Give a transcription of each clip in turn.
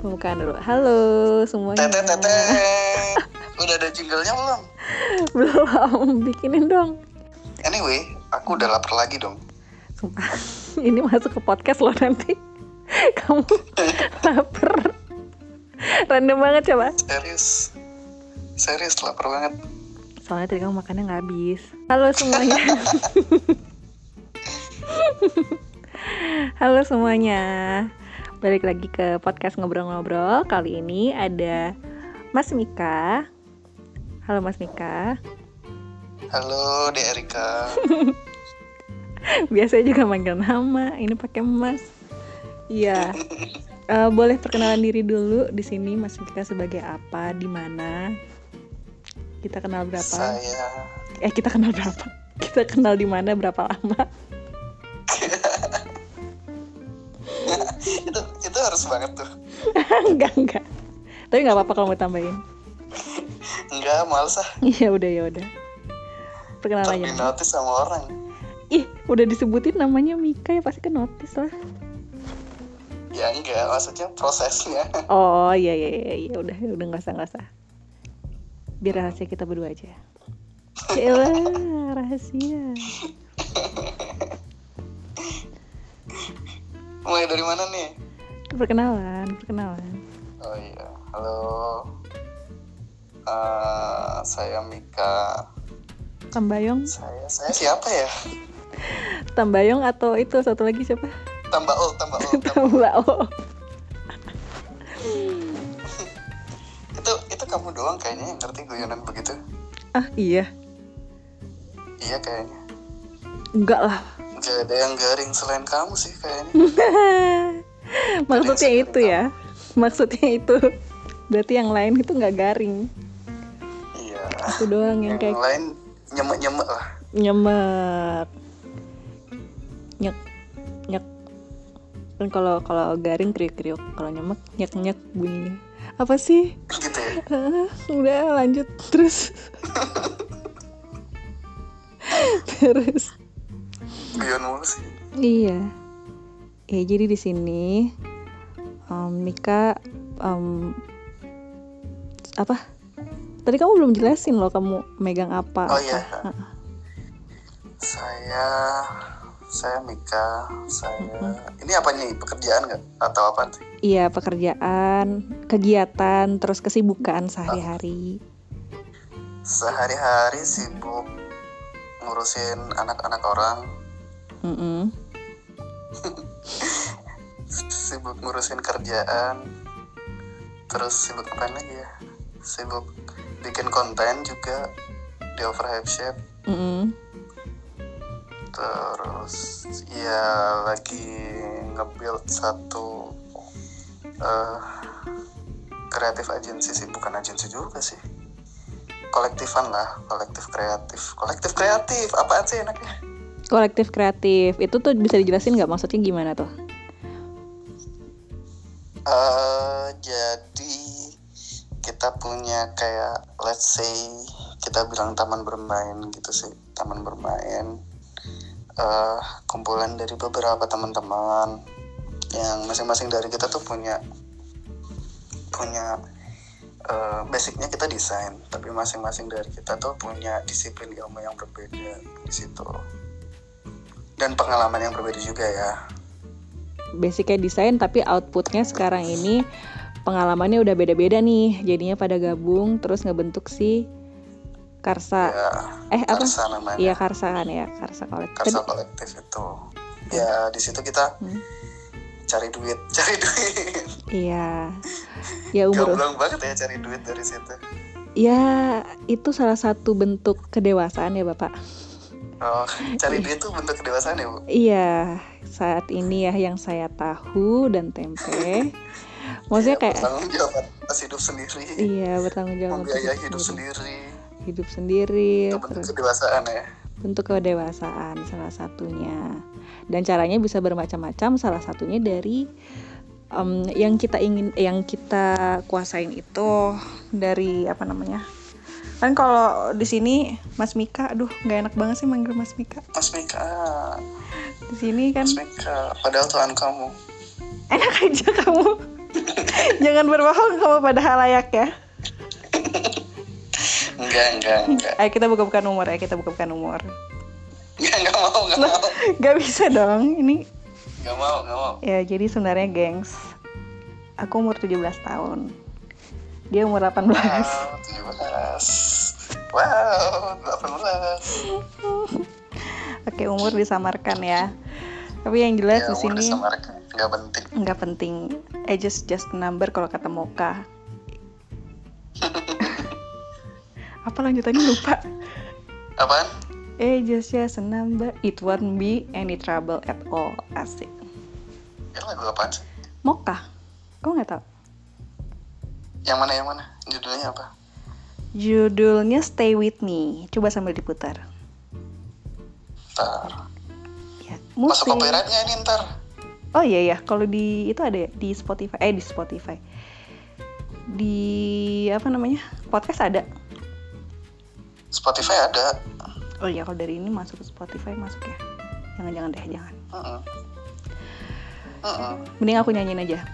permukaan dulu. Halo semuanya. Tete tete. Udah ada jinglenya belum? Belum bikinin dong. Anyway, aku udah lapar lagi dong. Sumpah. Ini masuk ke podcast loh nanti. Kamu lapar. Random banget coba. Serius. Serius lapar banget. Soalnya tadi kamu makannya nggak habis. Halo semuanya. Halo semuanya. Balik lagi ke podcast ngobrol-ngobrol. Kali ini ada Mas Mika. Halo Mas Mika. Halo, De Erika. Biasanya juga manggil nama. Ini pakai Mas. Iya. Eh, boleh perkenalan diri dulu di sini Mas Mika sebagai apa, di mana? Kita kenal berapa? Saya Eh kita kenal berapa? Kita kenal di mana berapa lama? itu itu harus banget tuh. enggak enggak. Tapi nggak apa-apa kalau mau tambahin. Enggak, males ah. Iya udah ya udah. Ntar Perkenalan di aja. notice sama orang. Ih udah disebutin namanya Mika ya pasti ke notice lah. Ya enggak, maksudnya prosesnya. Oh iya iya iya iya, udah ya udah nggak usah nggak usah. Biar rahasia kita berdua aja. Yaelah, rahasia. Mulai dari mana nih? Perkenalan perkenalan. Oh iya, halo. Eh, saya Mika. Tambayong Saya saya siapa ya? Tambayong atau itu satu lagi siapa? Tambah oh, tambah oh. Tambah. Tambao. Itu itu kamu doang kayaknya yang ngerti guyonan begitu. Ah iya. Iya kayaknya. Enggak lah. Gak ada yang garing selain kamu sih kayaknya. Maksudnya Ada yang itu ya. Maksudnya itu. Berarti yang lain itu nggak garing. iya. Itu doang yang kayak Yang lain nyemek-nyemek lah. nyemek. Nyek nyek. Kan kalau kalau garing kriuk-kriuk, kalau nyemek nyek-nyek bunyinya. Apa sih? Gitu ya. Ah, udah lanjut terus. terus. Guyon mulu sih. Iya. Ya jadi di sini em, Mika em, apa? Tadi kamu belum jelasin loh kamu megang apa. Oh iya. Saya saya Mika, saya ini apa nih pekerjaan nggak atau apa sih? Iya, pekerjaan, kegiatan, terus kesibukan sehari-hari. Sehari-hari sibuk ngurusin anak-anak orang, Mm-mm. sibuk ngurusin kerjaan, terus sibuk apa lagi ya? Sibuk bikin konten juga di Overhype Shape, Mm-mm. terus ya lagi nge-build satu eh kreatif agensi sih, bukan agensi juga sih kolektifan lah, kolektif kreatif, kolektif kreatif, apaan sih enaknya? Kolektif kreatif. Itu tuh bisa dijelasin nggak maksudnya gimana tuh? eh jadi kita punya kayak let's say kita bilang taman bermain gitu sih taman bermain eh kumpulan dari beberapa teman-teman yang masing-masing dari kita tuh punya punya eh, basicnya kita desain tapi masing-masing dari kita tuh punya disiplin ilmu yang berbeda di situ dan pengalaman yang berbeda juga ya Basicnya desain tapi outputnya sekarang ini pengalamannya udah beda-beda nih. Jadinya pada gabung terus ngebentuk si Karsa ya eh apa Karsa namanya iya karsa kan ya karsa kolektif Karsa kolektif itu ya di situ kita Hmm. cari duit cari duit iya ya umur gamblang banget ya cari duit dari situ ya itu salah satu bentuk kedewasaan ya bapak oh, cari duit tuh bentuk kedewasaan ya bu iya saat ini ya yang saya tahu dan tempe maksudnya Ya, kayak bertanggung jawab atas hidup sendiri iya bertanggung jawab Iya, untuk membiayai hidup sendiri hidup sendiri itu bentuk terus kedewasaan ya bentuk kedewasaan salah satunya dan caranya bisa bermacam-macam salah satunya dari em, yang kita ingin yang kita kuasain itu dari apa namanya kan kalau di sini Mas Mika aduh nggak enak banget sih manggil Mas Mika Mas Mika di sini kan Mas Mika padahal Tuhan kamu enak aja kamu Jangan berbohong kamu pada halayak ya. Enggak, enggak, enggak. Ayo kita buka-bukaan umur ya, kita buka-bukaan umur. Enggak, enggak mau, enggak mau. Gak bisa dong. Ini Enggak mau, enggak mau. ya jadi sebenarnya gengs. Aku umur 17 tahun. Dia umur 18. Wow, 17. Ah, Wow, 18. Oke, umur disamarkan ya. Tapi yang jelas di Ya, umur sini disamarkan. Enggak penting. nggak penting. Age is just a number kalau kata Moka. Apa lanjutannya lupa? Apaan? Age is just a number. It won't be any trouble at all. Asik. Ya lagu apaan sih? Moka. Kau nggak tahu? Yang mana, yang mana? Judulnya apa? Judulnya Stay With Me. Coba sambil diputar. Ntar. Ya, musik. Masuk copyrightnya ini ntar. Oh iya ya, kalau di itu ada ya, di Spotify. Eh di Spotify. Di apa namanya? Podcast ada. Spotify ada. Oh iya, kalau dari ini masuk ke Spotify masuk ya. Jangan-jangan deh, jangan. Heeh. Heeh. Mending aku nyanyiin aja.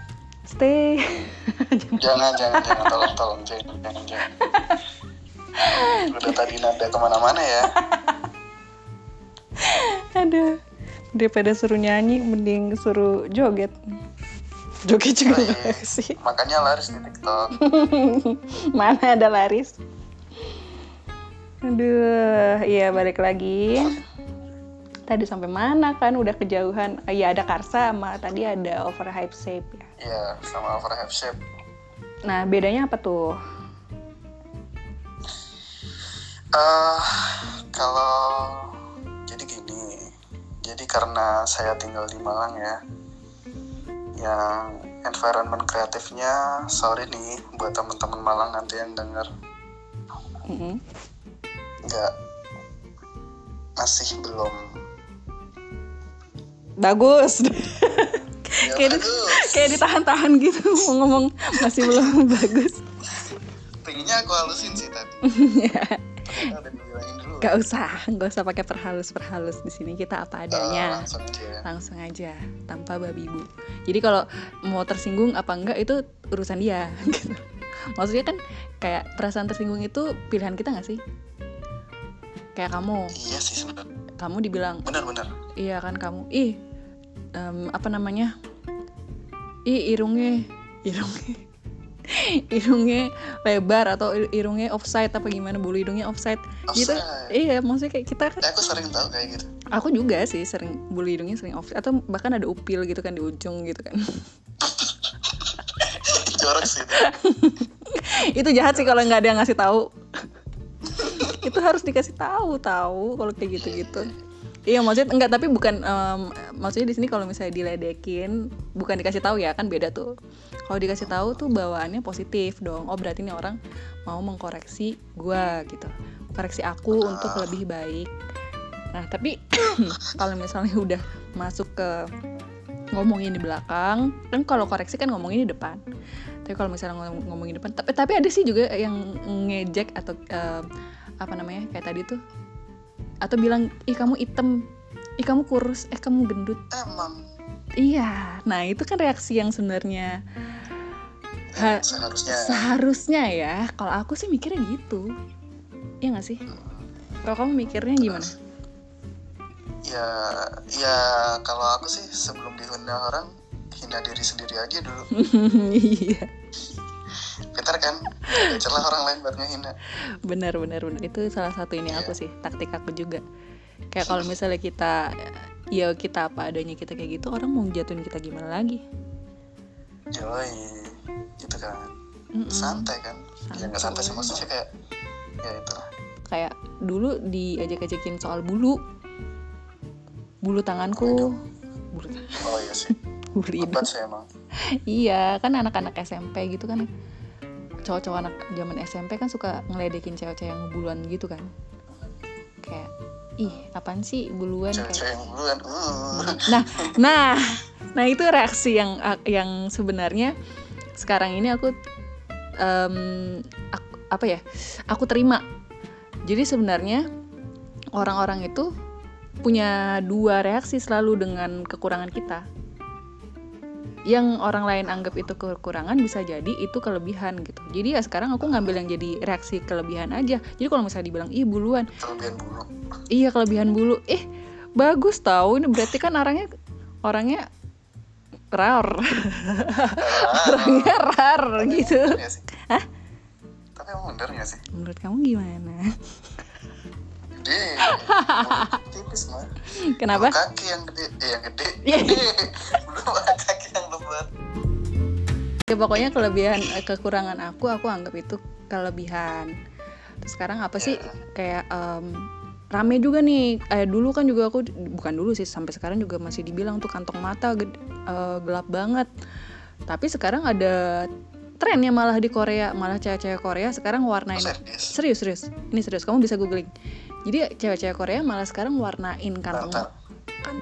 Stay. Jangan, jangan, jangan, tolong, tolong, jangan, jangan, jangan. Udah tadi nada kemana-mana ya. Aduh. Daripada suruh nyanyi, mending suruh joget. Joget juga nggak Iya sih. Makanya laris di TikTok. Mana ada laris? Aduh, iya balik lagi. Tadi sampai mana kan udah kejauhan. Ah, Iya ada Karsa sama tadi ada Overhype Shape ya. Iya, sama overhead shape. Nah, bedanya apa tuh? eh kalau jadi gini, jadi karena saya tinggal di Malang ya, yang environment kreatifnya sorry nih buat teman-teman Malang nanti yang denger Mm-mm. nggak masih belum. Bagus. Ya, Kayak di- aduh, Kayak ditahan-tahan gitu mau ngomong masih belum bagus. tingginya aku halusin sih tadi. Iya. Ternyata udah dibilangin dulu. Gak usah, gak usah pakai perhalus-perhalus di sini kita apa Eh, adanya. langsung aja. Langsung aja tanpa babi bu. Jadi kalau mau tersinggung apa enggak itu urusan dia gitu. Maksudnya kan kayak perasaan tersinggung itu pilihan kita nggak sih? Kayak kamu, Iya sih sebenarnya. kamu dibilang Bener-bener. iya kan kamu ih em, apa namanya ih irungnya irungnya irungnya lebar atau i- irungnya offside apa gimana bulu hidungnya offside gitu Offside. iya maksudnya kayak kita kan Eh, aku sering tau kayak gitu. aku juga sih sering bulu hidungnya sering offside atau bahkan ada upil gitu kan di ujung gitu kan Jorok sih. itu. itu jahat sih kalau nggak ada yang ngasih tahu itu harus dikasih tahu tahu kalau kayak gitu gitu iya maksudnya enggak tapi bukan em, maksudnya di sini kalau misalnya diledekin bukan dikasih tahu ya kan beda tuh kalau dikasih tahu tuh bawaannya positif dong oh berarti ini orang mau mengkoreksi gua gitu koreksi aku untuk lebih baik nah tapi kalau misalnya udah masuk ke ngomongin di belakang kan kalau koreksi kan ngomongin di depan tapi kalau misalnya ngom- ngomongin depan tapi tapi ada sih juga yang ngejek atau eh, apa namanya kayak tadi tuh atau bilang ih kamu item ih kamu kurus eh kamu gendut Emang iya nah itu kan reaksi yang sebenarnya ha- eh, seharusnya. seharusnya ya kalau aku sih mikirnya gitu Iya nggak sih kalau kamu mikirnya gimana ya ya kalau aku sih sebelum dihina orang hina diri sendiri aja dulu iya pintar kan Ada celah orang lain buat ngehina benar Hmm. benar benar itu salah satu ini aku Iya. sih taktik aku juga kayak kalau misalnya kita ya kita apa adanya kita kayak gitu orang mau jatuhin kita gimana lagi joy gitu kan Mm-mm. santai kan ya nggak santai sih Santai. maksudnya kayak ya itulah kayak dulu diajak-ajakin soal bulu bulu tanganku Waduh. bulu tangan oh iya sih bulu hidung hebat sih emang iya kan anak-anak SMP gitu kan cowok-cowok anak zaman SMP kan suka ngeledekin cewek-cewek yang buluan gitu kan kayak ih apaan sih buluan kayak cewek-cewek yang duluan uh. nah nah nah itu reaksi yang yang sebenarnya sekarang ini aku, em, aku- apa ya aku terima jadi sebenarnya orang-orang itu punya dua reaksi selalu dengan kekurangan kita yang orang lain anggap itu kekurangan bisa jadi itu kelebihan gitu jadi ya sekarang aku ngambil yang jadi reaksi kelebihan aja jadi kalau misalnya dibilang ih buluan kelebihan bulu iya kelebihan bulu eh bagus tau ini berarti kan orangnya orangnya rar orangnya rar gitu Hah? Iya tapi emang bener gak sih menurut kamu gimana gede tipis mah kenapa Bulu kaki yang gede eh, yang gede Iya. gede bulu kaki yang lebat ya pokoknya kelebihan eh, kekurangan aku aku anggap itu kelebihan terus sekarang apa sih Ya. kayak em, rame juga nih eh, dulu kan juga aku bukan dulu sih sampai sekarang juga masih dibilang tuh kantong mata ged- eh, gelap banget tapi sekarang ada trennya malah di Korea malah cewek-cewek Korea sekarang warnain serius serius serius ini serius kamu bisa googling jadi cewek-cewek Korea malah sekarang warnain kantong Bentar,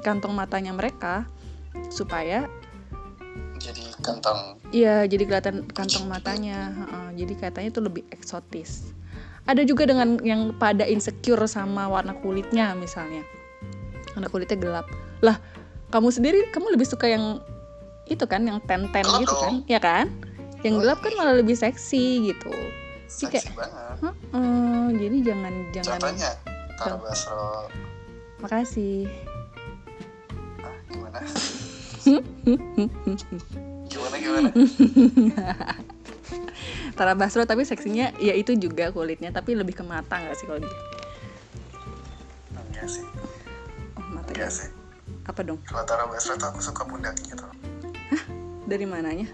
kantong matanya mereka supaya jadi kantong Iya, jadi kelihatan kantong matanya. heeh. jadi katanya itu lebih eksotis. Ada juga dengan yang pada insecure sama warna kulitnya misalnya. Warna kulitnya gelap. Lah, kamu sendiri kamu lebih suka yang itu kan yang ten-ten Gelap gitu dong. iya. kan? Ya kan? Yang gelap kan malah lebih seksi gitu. Jadi kayak seksi banget heeh, jadi jangan jangan contohnya Tara Basro makasih. ah, gimana gimana gimana Tara Basro tapi seksinya ya itu juga kulitnya tapi lebih ke mata nggak sih kalau gitu? dia? enggak sih Oh, mata enggak sih Apa dong? kalau Tara Basro tuh aku suka gitu. pundaknya tuh Dari mananya?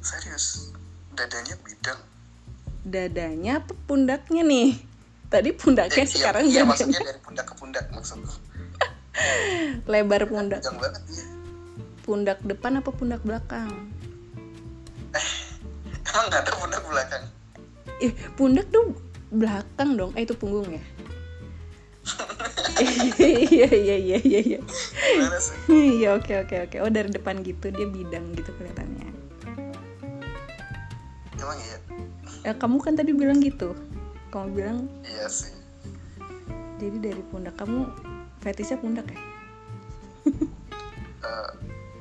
serius dadanya bidang dadanya apa pundaknya nih? Tadi pundaknya Eh, iya, sekarang iya, dadanya. maksudnya dari pundak ke pundak maksudku lebar pundak. bidang banget iya. dia Pundak depan apa pundak belakang? emang nggak ada pundak belakang Eh, pundak tuh belakang dong. Eh itu punggung ya? iya iya iya iya iya. gimana sih Iya oke oke oke. Oh dari depan gitu dia bidang gitu kelihatannya. emang iya Eh, kamu kan tadi bilang gitu. Kamu bilang iya sih jadi dari pundak kamu fetishnya pundak ya? Eh, eh,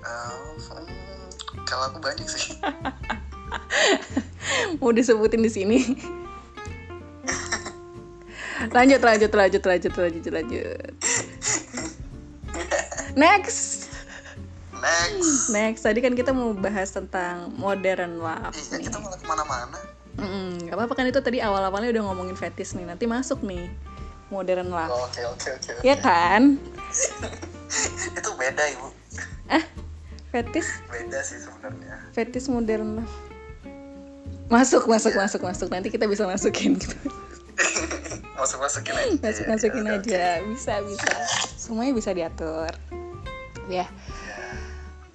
hmm, kalau aku banyak sih Mau disebutin di sini. lanjut lanjut lanjut lanjut lanjut lanjut. Next. next Next, tadi kan kita mau bahas tentang modern love iya nih. kita malah kemana-mana Mm-mm, Gak apa-apa kan itu tadi awal-awalnya udah ngomongin fetish nih. Nanti masuk nih modern love. Oh, oke oke oke oke. Ya kan? itu beda ibu Eh, Fetish, beda sih sebenarnya fetish modern love. Masuk, masuk, masuk, masuk. Nanti kita bisa masukin gitu. masuk masukin Oh, aja Masuk, Iya, masukin iya, oke. aja. Bisa, bisa. Semuanya bisa diatur. Ya. Iya.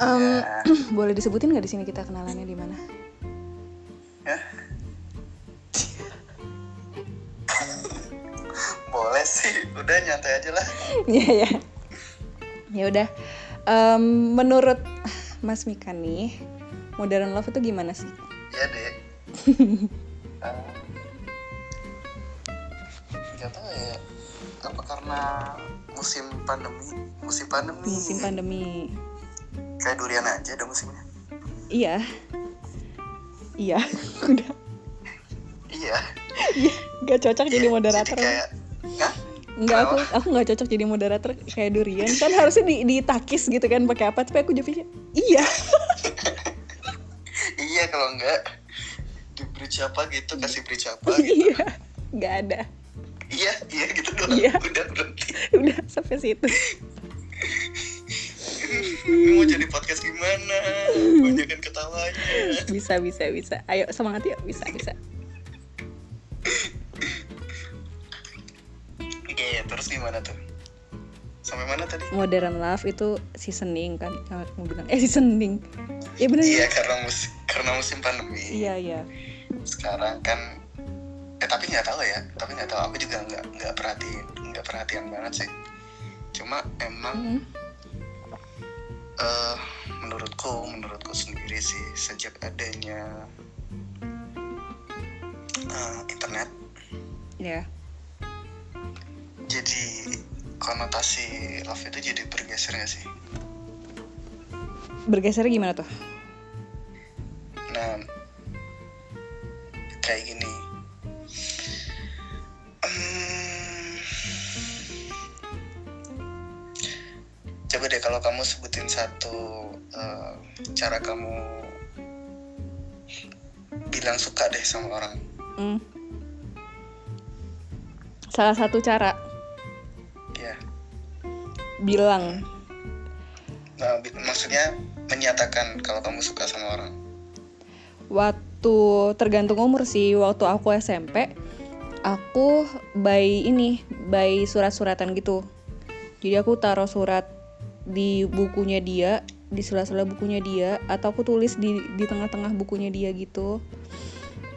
Em, boleh disebutin nggak di sini kita kenalannya di mana? Hah? boleh sih udah nyantai aja lah Iya ya. Ya udah. Em, menurut Mas Mika nih, modern love itu gimana sih? Iya deh. Eh, Nggak tahu ya. Apa karena musim pandemi? Musim pandemi. Musim pandemi. Kayak durian aja udah musimnya. Iya. Iya, udah. Iya. Gak cocok jadi Iya, moderator. ya? Jadi kayak. Hah? Enggak, aku aku nggak cocok jadi moderator kayak durian. Kan harusnya di, ditakis gitu kan pakai apa? Tapi aku jadi iya. Iya kalau enggak diberi siapa gitu kasih beri siapa gitu. Iya. Gak ada. iya iya gitu doang Iya. udah berhenti Udah sampai situ. mau jadi podcast gimana banyakan ketawanya Bisa, bisa, bisa. Ayo semangat yuk, bisa, bisa. oke Iya, terus gimana tuh sampai mana tadi Modern love itu seasoning kan kalau kamu bilang. Eh seasoning. Iya bener iya karena musim karena musim pandemi Iya iya. sekarang kan eh tapi nggak tahu ya tapi nggak tahu aku juga nggak nggak perhatiin nggak perhatian banget sih cuma emang Mm. eh menurutku menurutku sendiri sih sejak adanya eh, internet Ya. jadi konotasi love itu jadi bergeser nggak sih bergeser gimana tuh? Nah, kayak gini. Hmm. Coba deh kalau kamu sebutin satu eh, cara kamu bilang suka deh sama orang. Hmm. Salah satu cara Ya, bilang nah, bi- maksudnya menyatakan kalau kamu suka sama orang. waktu tergantung umur sih waktu aku SMP aku by ini by surat-suratan gitu jadi aku taruh surat di bukunya dia di sela-sela bukunya dia atau aku tulis di di tengah-tengah bukunya dia gitu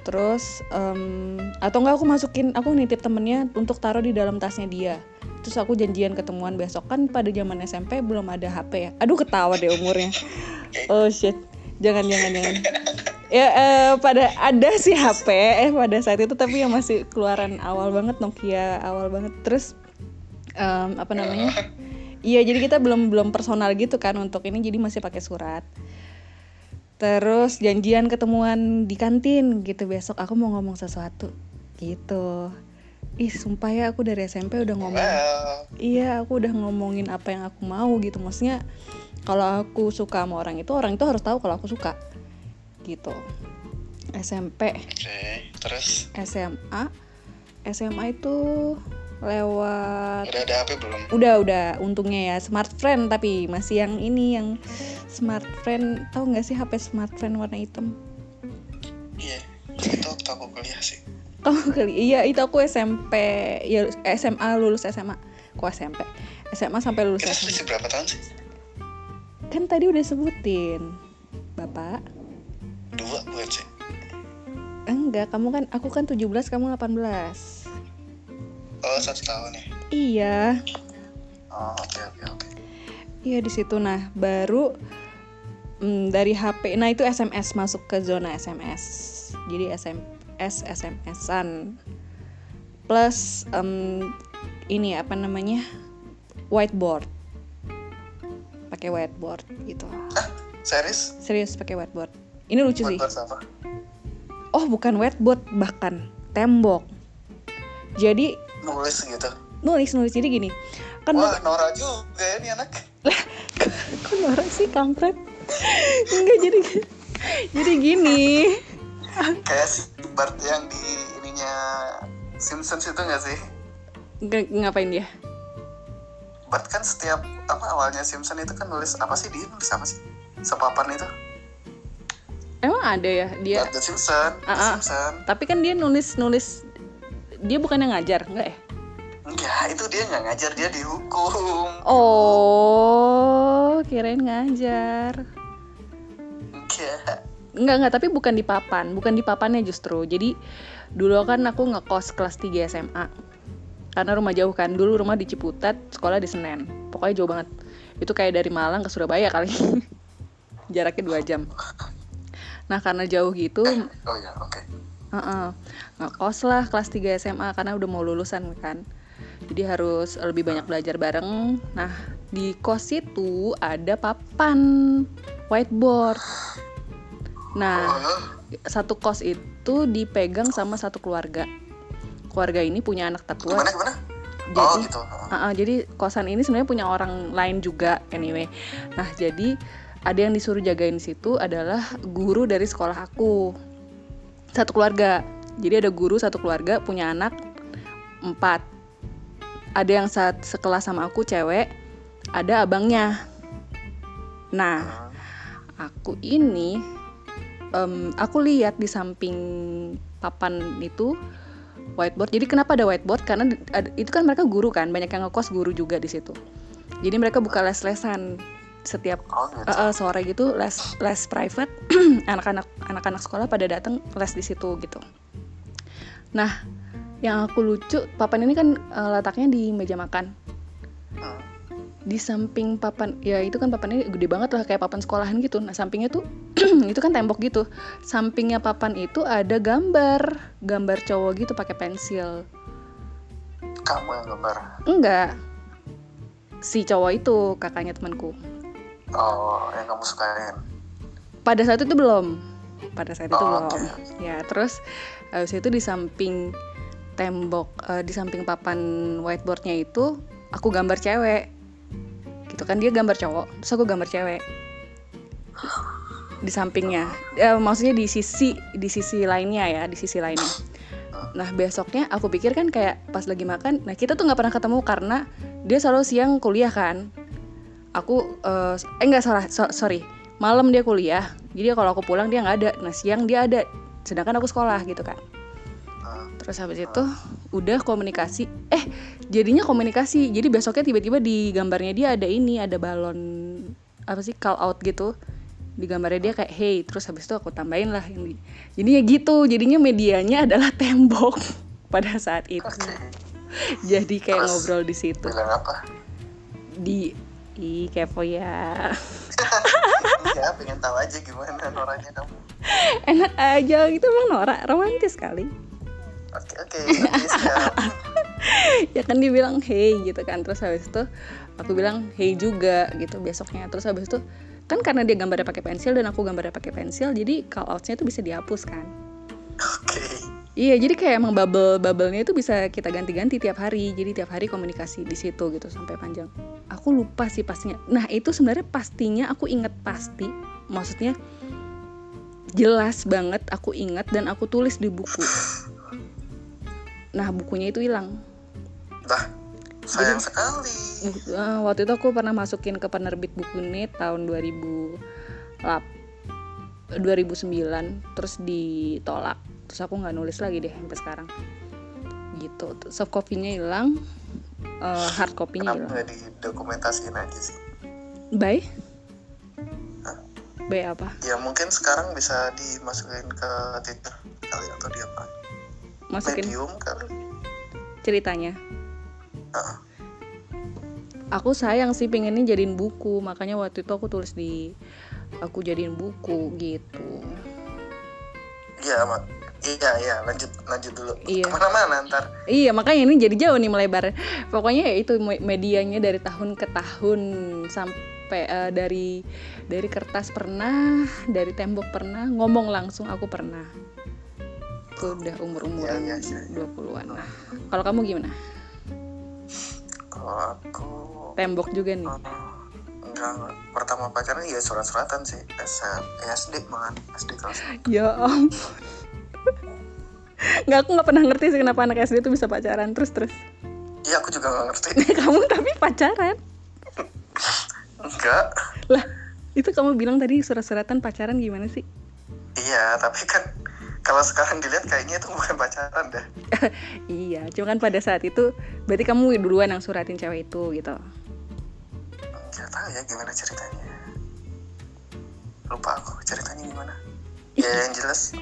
terus em, atau enggak aku masukin aku nitip temennya untuk taruh di dalam tasnya dia terus aku janjian ketemuan besok kan pada zaman SMP belum ada HP ya aduh ketawa deh umurnya oh shit jangan jangan jangan ya eh, pada ada sih HP eh pada saat itu tapi yang masih keluaran awal banget Nokia awal banget terus em, apa namanya iya jadi kita belum belum personal gitu kan untuk ini jadi masih pakai surat terus janjian ketemuan di kantin gitu besok aku mau ngomong sesuatu gitu ih sumpah ya aku dari SMP udah ngomong Wow, iya aku udah ngomongin apa yang aku mau gitu maksudnya kalau aku suka sama orang itu orang itu harus tahu kalau aku suka gitu SMP oke. Terus SMA SMA itu lewat udah ada HP belum? udah udah untungnya ya smart friend tapi masih yang ini yang smart friend tahu nggak sih HP smart friend warna hitam Iya, itu waktu aku kuliah sih. tahu kali iya itu aku SMP ya SMA lulus SMA aku SMP SMA sampai lulus Kita SMA selisih berapa tahun sih? kan tadi udah sebutin bapak Dua bukan sih? Enggak, kamu kan aku kan 17, kamu 18. Oh, satu tahun ya? Iya. Oh, oke, oke, oke. Iya di situ nah, baru mm, dari HP. Nah, itu SMS masuk ke zona SMS. Jadi SMS SMS-an. Plus em, ini apa namanya? whiteboard. Pakai whiteboard gitu. Series? Serius pakai whiteboard. Ini lucu sih. Buat apa? Oh, bukan whiteboard bahkan tembok. Jadi Nulis gitu. nulis nulis jadi gini kan Wah, Nora juga ya nih anak. Kok norak sih kampret? Enggak jadi jadi gini. Kayak si Bart yang di ininya Simpsons itu nggak sih? Nggak- ngapain dia? Bart kan setiap apa awalnya Simpson itu kan nulis apa sih dia nulis apa sih? Sepapan itu. Emang ada ya dia? Bart the Simpson, The Ah, ah. Simpson. Tapi kan dia nulis nulis dia bukan yang ngajar, enggak ya? Enggak, itu dia nggak ngajar dia dihukum. Oh, kirain ngajar. Enggak. Enggak enggak, tapi bukan di papan, bukan di papannya justru. Jadi dulu kan aku ngekos kelas 3 SMA. Karena rumah jauh kan, dulu rumah di Ciputat, sekolah di Senen. Pokoknya jauh banget. Itu kayak dari Malang ke Surabaya kali. Jaraknya dua jam. Nah, karena jauh gitu, Oh iya, oke. Heeh. Ngekos lah kelas 3 SMA karena udah mau lulusan kan. Jadi harus lebih banyak belajar bareng. Nah, di kos itu ada papan whiteboard. Nah, Oh, satu kos itu dipegang sama satu keluarga. Keluarga ini punya anak tertua. gimana gimana? Oh Jadi gitu. Ah, ah, jadi kosan ini sebenarnya punya orang lain juga anyway. Nah, jadi ada yang disuruh jagain di situ adalah guru dari sekolah aku. Satu keluarga. Jadi ada guru satu keluarga punya anak empat. Ada yang saat sekelas sama aku cewek, ada abangnya. Nah, Hmm. aku ini em, aku lihat di samping papan itu whiteboard. Jadi kenapa ada whiteboard? Karena di- ad- itu kan mereka guru kan, banyak yang ngekos guru juga di situ. Jadi mereka buka les-lesan setiap Oh gitu. eh, eh, sore gitu les les private anak-anak anak-anak sekolah pada datang les di situ gitu. Nah, yang aku lucu papan ini kan eh, letaknya di meja makan Hmm. di samping papan ya itu kan papannya gede banget lah kayak papan sekolahan gitu nah sampingnya tuh itu kan tembok gitu sampingnya papan itu ada gambar gambar cowok gitu pakai pensil Kamu yang gambar. enggak si cowok itu kakaknya temanku Oh, yang kamu sukain. pada saat itu belum pada saat itu belum Oh, oke. ya terus habis itu di samping tembok eh, di samping papan whiteboardnya itu aku gambar cewek gitu kan dia gambar cowok terus aku gambar cewek di sampingnya Eh, maksudnya di sisi di sisi lainnya ya di sisi lainnya nah besoknya aku pikir kan kayak pas lagi makan nah kita tuh nggak pernah ketemu karena dia selalu siang kuliah kan aku eh, eh nggak salah so- sorry malam dia kuliah jadi kalau aku pulang dia nggak ada nah siang dia ada sedangkan aku sekolah gitu kan Hmm. terus habis itu udah komunikasi eh jadinya komunikasi jadi besoknya tiba-tiba di gambarnya dia ada ini ada balon apa sih call out gitu di gambarnya dia kayak hey terus habis itu aku tambahin lah ini jadinya gitu jadinya medianya adalah tembok pada saat itu Oke. jadi kayak Terus? ngobrol di situ Bilang apa? di Ih, kepo ya. Iya, pengen tahu aja gimana orangnya kamu. Enak aja gitu Bang Nora, romantis kali. Oke, oke. Iya. Oke, siap. ya kan dibilang hey gitu kan terus habis itu aku bilang hey juga gitu besoknya terus habis itu kan karena dia gambarnya pakai pensil dan aku gambarnya pakai pensil jadi call outnya itu bisa dihapus kan Oke. iya jadi kayak emang bubble bubblenya itu bisa kita ganti-ganti tiap hari jadi tiap hari komunikasi di situ gitu sampai panjang aku lupa sih pastinya nah itu sebenarnya pastinya aku inget pasti maksudnya jelas banget aku inget dan aku tulis di buku nah bukunya itu hilang Dah. Sayang sekali. Bu- eh, waktu itu aku pernah masukin ke penerbit buku ini tahun 2000 lap- 2009 terus ditolak terus aku nggak nulis lagi deh sampai sekarang gitu Terus soft copy-nya hilang eh, hard copy-nya Kenapa hilang nggak didokumentasiin aja sih? bye bye apa Ya mungkin sekarang bisa dimasukin ke Twitter kali atau di apa? masukin Medium kali. ceritanya Heeh. aku sayang sih pengennya jadiin buku makanya waktu itu aku tulis di aku jadiin buku gitu Iya, Mak. Iya, iya, lanjut lanjut dulu. Iya. Kemana-mana ntar. Iya makanya ini jadi jauh nih melebar. Pokoknya ya itu me- medianya dari tahun ke tahun sampai eh, dari dari kertas pernah, dari tembok pernah, ngomong langsung aku pernah. Itu udah umur umuran Iya, iya, iya. 20-an lah. Kalau kamu gimana? Kalau aku Tembok juga nih. eh, enggak pertama pacaran ya surat-suratan sih SM, SD malah SD kelas Ya om. Nggak, aku nggak pernah ngerti sih kenapa anak SD itu bisa pacaran terus terus. iya aku juga nggak ngerti kamu tapi pacaran. enggak Lah, itu kamu bilang tadi surat-suratan pacaran gimana sih? iya tapi kan kalau sekarang dilihat kayaknya itu bukan pacaran dah Iya, cuma kan pada saat itu berarti kamu duluan yang suratin cewek itu gitu. nggak tahu ya gimana ceritanya lupa aku ceritanya gimana ya yang jelas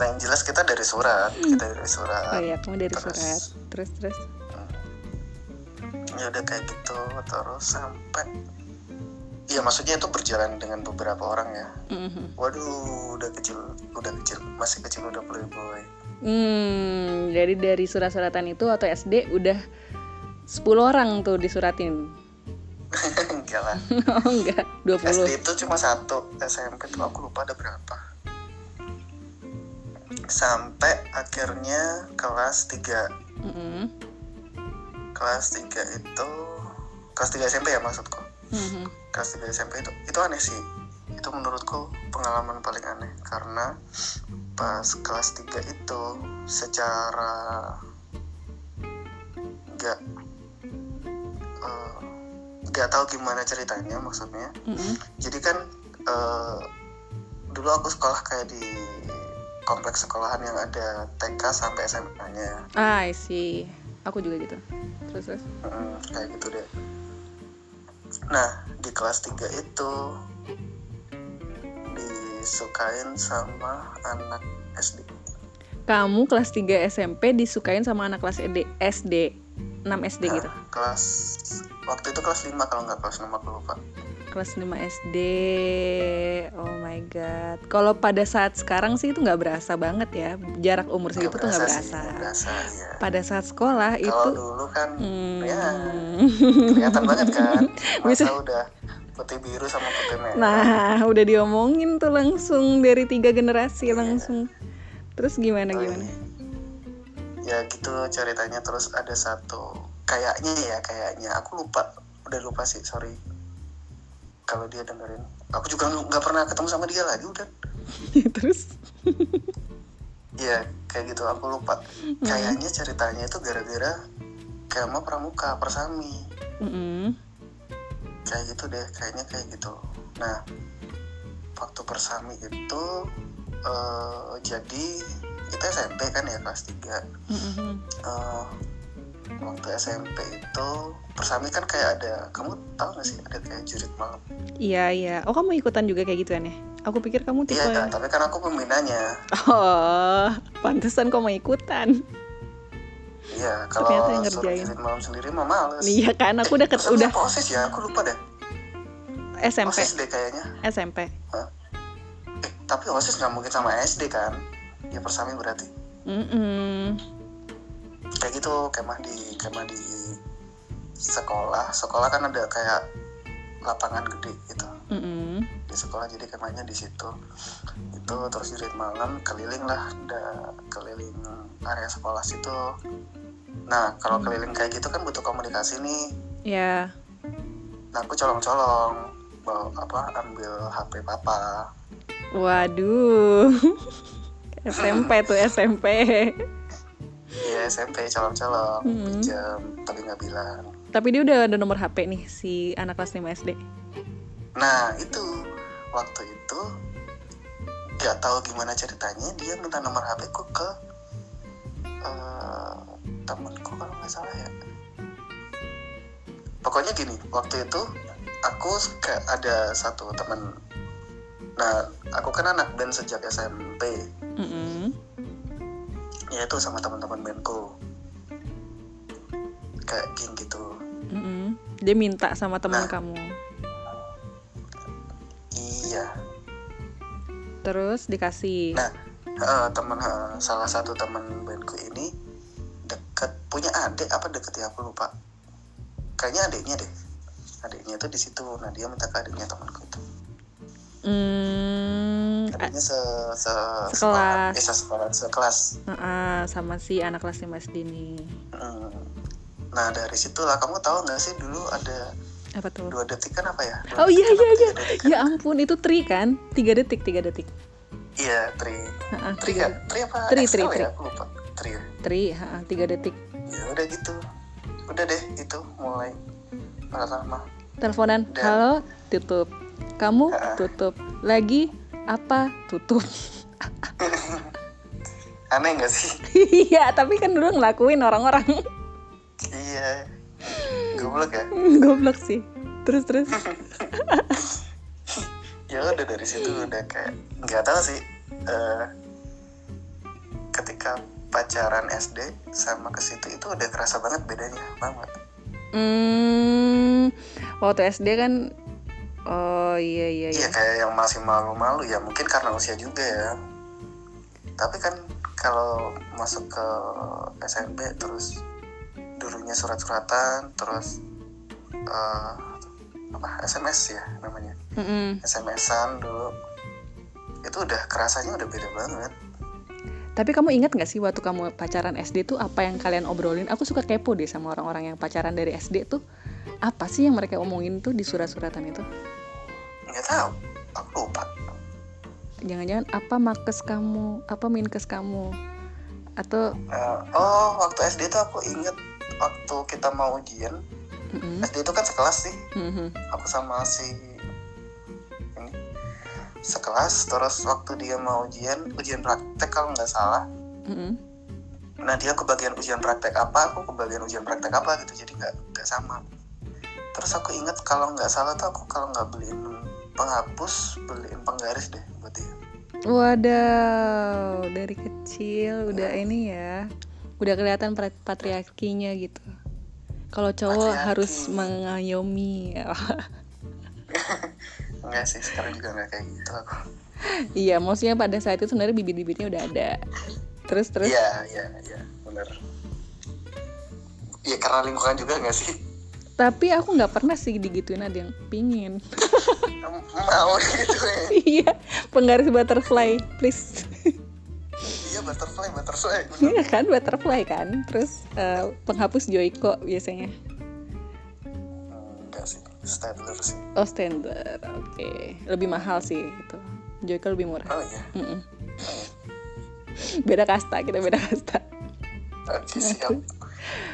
nah yang jelas kita dari surat kita dari Oh surat iya, kamu dari terus. surat. Terus terus. ya udah kayak gitu terus sampai ya maksudnya itu berjalan dengan beberapa orang ya Mhm. waduh udah kecil udah kecil masih kecil udah playboy Hmm, jadi dari surat-suratan itu atau SD udah 10 orang tuh disuratin. enggak lah Oh enggak, 20. SD itu cuma satu SMP tuh aku lupa ada berapa sampai akhirnya kelas 3 Mhm. kelas 3 itu kelas 3 SMP ya maksudku Mhm. kelas 3 SMP itu itu aneh sih itu menurutku pengalaman paling aneh karena pas kelas 3 itu secara nggak eh, nggak tahu gimana ceritanya maksudnya Mhm. jadi kan eh, dulu aku sekolah kayak di kompleks sekolahan yang ada TK sampai SMA-nya Ah, I see. Aku juga gitu. Terus terus. Mm, kayak gitu deh. Nah, di kelas 3 itu disukain sama anak SD. Kamu kelas 3 SMP disukain sama anak kelas E SD, SD 6 SD Nah, gitu. Kelas waktu itu kelas 5 kalau nggak kelas 6 aku lupa. kelas 5 SD. Oh my god. Kalau pada saat sekarang sih itu nggak berasa banget ya. Jarak umur segitu tuh nggak sih, berasa. nggak berasa ya. Pada saat sekolah Kalau itu dulu kan hmm, ya kelihatan banget kan. Masa Bisa. udah putih biru sama putih merah Nah, udah diomongin tuh langsung dari tiga generasi Iya. langsung. Terus gimana Oh, gimana? Nah, ya gitu ceritanya terus ada satu kayaknya ya kayaknya aku lupa udah lupa sih sorry kalau dia dengerin aku juga nggak nggak pernah ketemu sama dia lagi udah iya. Terus ya kayak gitu aku lupa Hmm. kayaknya ceritanya itu gara-gara Kema Pramuka Persami Mm-mm. kayak gitu deh kayaknya kayak gitu nah waktu persami itu eh, jadi kita SMP kan ya kelas 3 Mm-mm. Eh, waktu SMP itu persami kan kayak ada kamu tahu gak sih ada kayak jurit malam Iya iya. Oh kamu ikutan juga kayak gituan ya? Aku pikir kamu tipe. ya? iya kan tapi kan aku pembinanya Oh, pantesan kok mau ikutan. iya Ternyata kalau yang suruh ngerjain. jurit malam sendiri mah males Iya kan? Aku udah ket, Terus udah apa osis ya aku lupa deh SMP osis deh kayaknya SMP. eh, tapi osis nggak mungkin sama SD kan ya persami berarti Mm-mm. kayak gitu kemah di kemah di sekolah sekolah kan ada kayak lapangan gede gitu Mm-mm. di sekolah jadi kemahnya di situ itu terus jurit malam keliling lah da, keliling area sekolah situ nah kalau keliling kayak gitu kan butuh komunikasi nih Ya. nah aku colong-colong bawa apa ambil HP papa Waduh. SMP tuh SMP. ya SMP colong-colong Mm. pinjam tapi nggak bilang Tapi dia udah ada nomor HP nih si anak kelas 5 SD. Nah itu waktu itu nggak tahu gimana ceritanya dia minta nomor HP ku ke eh, temanku kalau nggak salah ya. Pokoknya gini waktu itu aku suka- ada satu teman. Nah aku kan anak band sejak SMP Mm-mm. yaitu sama teman-teman bandku kayak geng gitu. Mm-mm. Dia minta sama teman Nah. kamu. Iya. Terus dikasih. Nah, eh, temen eh, salah satu temen bandku ini deket punya adik apa deket ya aku lupa. Kayaknya adiknya deh. Adiknya itu di situ. Nah dia minta ke adiknya temanku itu. Mm, a- Adiknya se se Sekelas. eh, sesekolah, sekelas. ah, sama si anak kelas 5 SD nih. Hmm. Nah dari situlah kamu tahu nggak sih dulu ada Apa tuh? dua detik kan apa ya? Dua Oh iya detik iya apa iya. tiga detik kan? Ya ampun itu tri kan? Tiga detik tiga detik. Iya tri Ha-ha, tri tiga kan tri apa? Tri, XL tri, ya? tri. Aku lupa tri. ya? Tri, ha, tiga detik. Ya udah gitu. Udah deh itu mulai pertama Teleponan, Dan- halo, tutup. Kamu Ha-ha. tutup. Lagi apa? Tutup. aneh nggak sih Iya, tapi kan dulu ngelakuin orang-orang iya goblok ya goblok sih. Terus terus. ya udah dari situ udah kayak nggak tahu sih eh, ketika pacaran SD sama ke situ itu udah kerasa banget bedanya banget Hmm, waktu SD kan Oh iya iya iya. iya kayak yang masih malu-malu ya mungkin karena usia juga ya tapi kan kalau masuk ke SMP terus dulunya surat-suratan terus eh, apa SMS ya namanya Mm-mm. SMS-an dulu itu udah kerasanya udah beda banget Tapi kamu ingat nggak sih waktu kamu pacaran SD tuh apa yang kalian obrolin? Aku suka kepo deh sama orang-orang yang pacaran dari SD tuh. Apa sih yang mereka omongin tuh di surat-suratan itu? nggak tahu aku lupa Jangan-jangan apa makes kamu, apa minkes kamu? Atau Eh, oh waktu SD itu aku inget waktu kita mau ujian Mm-mm. SD itu kan sekelas sih Mhm. aku sama si ini sekelas terus waktu dia mau ujian ujian praktek kalau nggak salah Mm-mm. nah dia kebagian ujian praktek apa aku kebagian ujian praktek apa gitu jadi nggak nggak sama terus aku inget kalau nggak salah tuh aku kalau nggak beliin penghapus beliin penggaris deh buat dia Wadaw, dari kecil udah ini ya. Udah kelihatan pra- patriarkinya gitu. Kalau cowok Patriarki. harus mengayomi. Oh, enggak sih sekarang juga nggak kayak gitu aku iya, maksudnya pada saat itu sebenarnya bibit-bibitnya udah ada. Terus terus iya iya iya benar ya karena lingkungan juga nggak sih Tapi aku nggak pernah sih digituin ada yang pingin. Em, mau gitu ya Iya, penggaris butterfly, please. iya butterfly butterfly Iya kan butterfly kan. Terus eh, penghapus Joyko biasanya. enggak sih Stadler sih Oh standar, oke. Lebih mahal sih gitu. Joyko lebih murah. oh iya Mm-mm. Beda kasta kita beda kasta. oke Iya, siap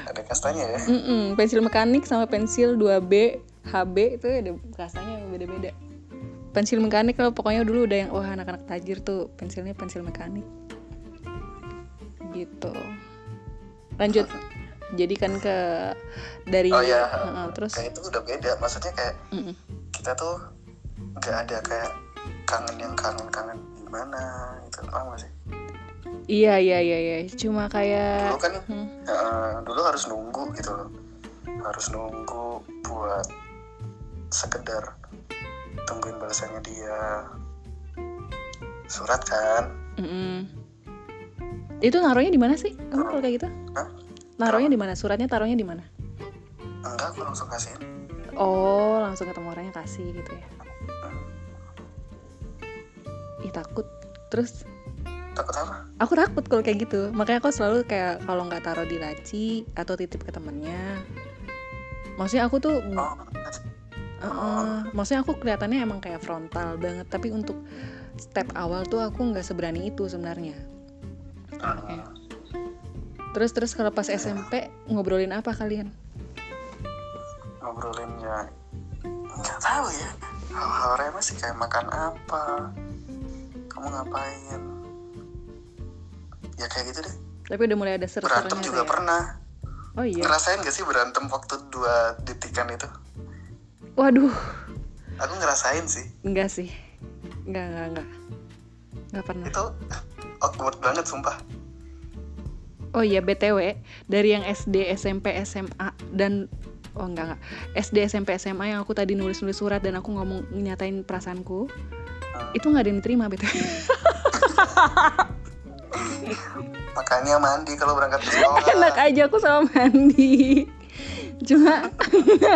ada kastanya ya Mm-mm, Pensil mekanik sama pensil 2B, HB itu ada kastanya yang beda-beda. Pensil mekanik kalau pokoknya dulu udah yang wah anak-anak tajir tuh pensilnya pensil mekanik. Gitu. Lanjut. Jadi kan ke dari Oh, iya. Heeh, terus kayak itu udah beda maksudnya kayak Mm-mm. kita tuh nggak ada kayak kangen yang kangen kangen gimana gitu paham gak sih Iya iya iya iya cuma dulu kayak kan Hmm. eh, dulu harus nunggu gitu loh harus nunggu buat sekedar tungguin balasannya dia surat kan Mm-mm. Itu naruhnya di mana sih? Kamu kalau kayak gitu? Hah? Naruhnya di mana? Suratnya taruhnya di mana? enggak aku langsung kasihin Oh, langsung ketemu orangnya kasih gitu ya. Ih, takut. Terus takut apa aku takut kalau kayak gitu. Makanya aku selalu kayak kalau nggak taruh di laci atau titip ke temennya. Maksudnya aku tuh oh Heeh, maksudnya aku kelihatannya emang kayak frontal banget, tapi untuk step awal tuh aku nggak seberani itu sebenarnya. eh, Terus terus kalau pas SMP ngobrolin apa kalian? ngobrolin ya nggak tahu ya hal-hal remeh sih kayak makan apa kamu ngapain ya kayak gitu deh Tapi udah mulai ada sersernya berantem tuh juga ya. pernah Oh iya. ngerasain gak sih berantem waktu dua detikan itu Waduh, aku ngerasain sih enggak sih. Enggak, enggak, enggak. Enggak pernah. itu awkward banget sumpah Oh iya, BTW, dari yang SD, SMP, SMA dan oh enggak enggak. SD, SMP, SMA yang aku tadi nulis-nulis surat dan aku ngomong nyatain perasaanku, Ah. itu nggak ada yang diterima BTW. makanya mandi kalau berangkat ke sekolah Enak aja aku sama mandi. Cuma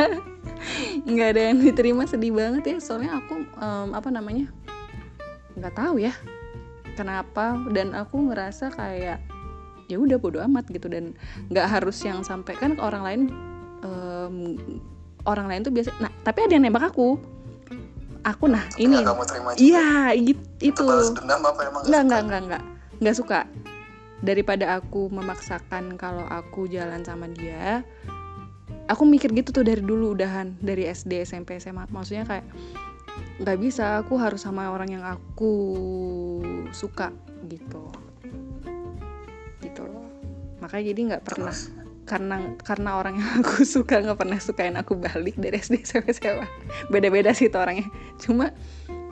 nggak ada yang diterima sedih banget ya soalnya aku em, apa namanya nggak tahu ya kenapa dan aku ngerasa kayak ya udah bodo amat gitu dan nggak harus yang sampai kan ke orang lain em, orang lain tuh biasa nah tapi ada yang nembak aku aku nah Tapi ini nggak kamu terima juga iya gitu itu balas dendam apa emang nggak suka? nggak nggak nggak nggak suka daripada aku memaksakan kalau aku jalan sama dia aku mikir gitu tuh dari dulu udahan dari SD SMP SMA maksudnya kayak nggak bisa aku harus sama orang yang aku suka gitu gitu loh makanya jadi nggak pernah Terus? karena karena orang yang aku suka nggak pernah sukain aku balik dari SD sampai SMA beda-beda sih itu orangnya cuma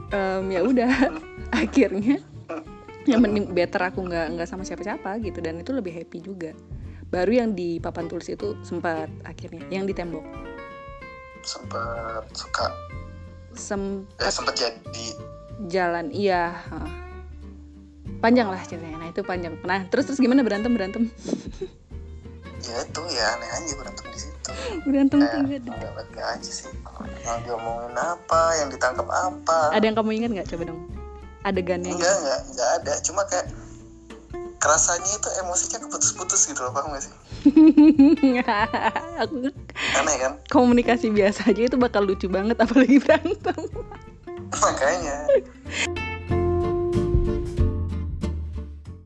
em, ya udah akhirnya yang mending better aku nggak nggak sama siapa-siapa gitu dan itu lebih happy juga baru yang di papan tulis itu sempat akhirnya yang di tembok sempet suka eh, sempat sempet jadi jalan iya heeh. panjang lah ceritanya nah itu panjang nah terus terus gimana berantem berantem ya itu ya aneh aja berantem di situ berantem Eh, tiga detik. nggak ngerti aja sih yang diomongin apa yang ditangkap apa ada yang kamu ingat nggak coba dong adegannya enggak enggak enggak ada cuma kayak kerasanya itu emosinya keputus-putus gitu loh paham gak sih aku aneh kan komunikasi biasa aja itu bakal lucu banget apalagi berantem makanya